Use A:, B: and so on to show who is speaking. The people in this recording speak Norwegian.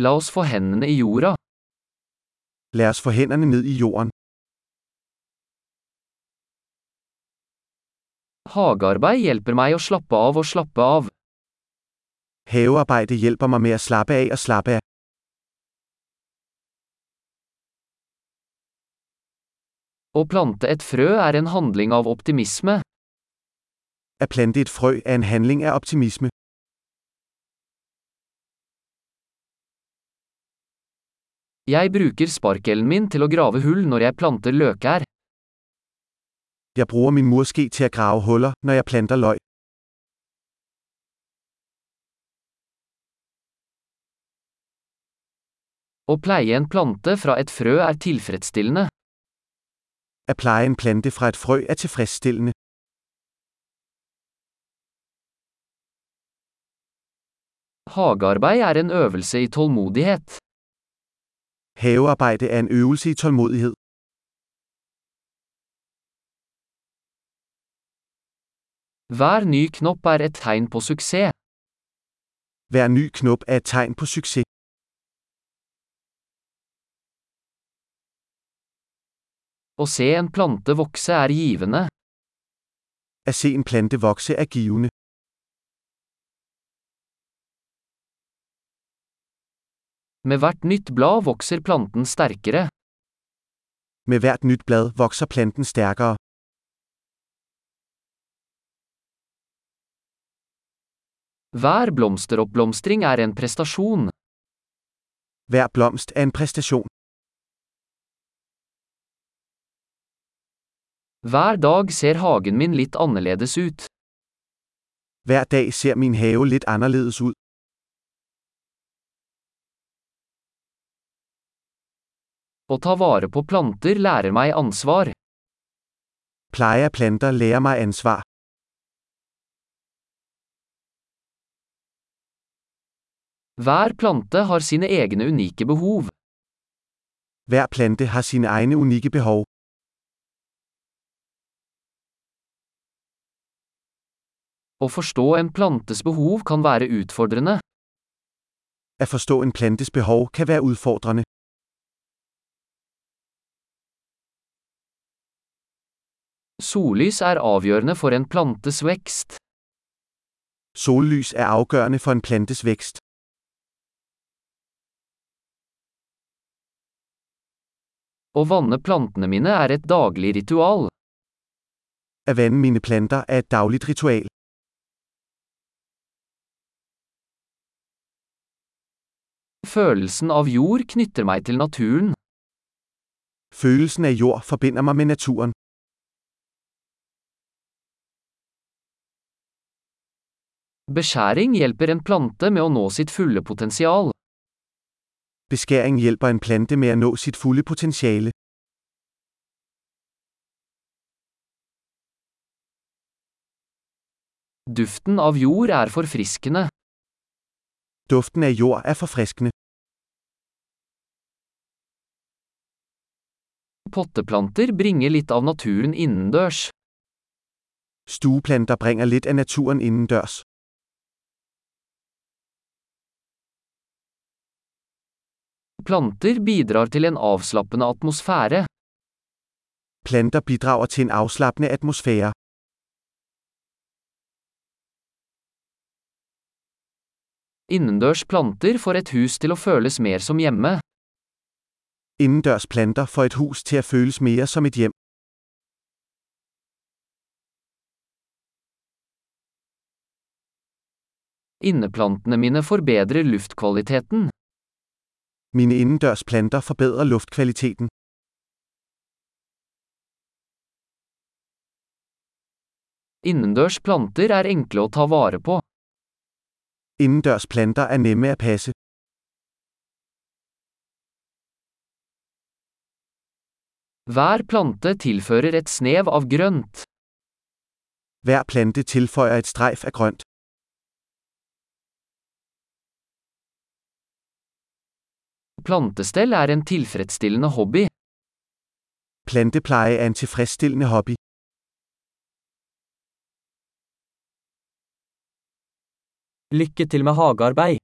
A: La oss få hendene i jorda.
B: Lad os få hænderne ned i jorden.
A: Hagearbeid hjelper meg å slappe av og slappe av.
B: Havearbejde hjælper mig med at slappe af og slappe af.
A: Å plante et frø er en handling av optimisme.
B: At plante et frø er en handling af optimisme.
A: Jeg bruker sparkelen min til å grave hull når jeg planter løkær.
B: Jeg bruger min murske til at grave huller, når jeg planter løg.
A: Å pleie en plante fra et frø er tilfredsstillende.
B: At pleje en plante fra et frø er tilfredsstillende.
A: Hagearbeid er en øvelse i tålmodighet.
B: Havearbejde er en øvelse i tålmodighed.
A: Hver ny knopp er et tegn på suksess.
B: Hver ny knop er et tegn på succes.
A: Å se en plante vokse er givende.
B: At se en plante vokse er givende.
A: Med hvert nytt blad vokser planten sterkere.
B: Med hvert nyt blad vokser planten stærkere.
A: Hver blomsteroppblomstring er en prestasjon.
B: Hver blomst er en præstation.
A: Hver dag ser hagen min litt annerledes ut.
B: Hver dag ser min have lidt anderledes ud.
A: Å ta vare på planter lærer meg ansvar.
B: Pleje af planter lærer mig ansvar.
A: Hver plante har sine egne unike behov.
B: Hver plante har sine egne unikke behov.
A: Å forstå en plantes behov kan være utfordrende.
B: At forstå en plantes behov kan være udfordrende.
A: Sollys er avgjørende for en plantes vekst.
B: Sollys er afgørende for en plantes vækst.
A: Å vanne plantene mine er et daglig ritual.
B: At vande mine planter er et dagligt ritual.
A: Følelsen av jord knytter meg til naturen.
B: Følelsen af jord forbinder mig med naturen.
A: Beskjæring hjelper en plante med å nå sitt fulle potensial.
B: Beskæring hjælper en plante med at nå sit fulde potentiale.
A: Duften av jord er forfriskende.
B: Duften af jord er forfriskende.
A: Potteplanter bringer litt av naturen innendørs.
B: Stueplanter bringer lidt af naturen indendørs.
A: Planter bidrar til en avslappende atmosfære.
B: Planter bidrager til en afslappende atmosfære.
A: Innendørs planter får et hus til å føles mer som hjemme.
B: Indendørs planter får et hus til at føles mere som et hjem.
A: Inneplantene mine forbedrer luftkvaliteten.
B: Mine indendørs planter forbedrer luftkvaliteten.
A: Innendørs planter er enkle å ta vare på.
B: Indendørs planter er nemme at passe.
A: Hver plante tilfører et snev av grønt.
B: Hver plante tilføjer et strejf af grønt.
A: Plantestell er en tilfredsstillende hobby.
B: Plantepleje er en tilfredsstillende hobby.
C: Lykke til med hagearbeid!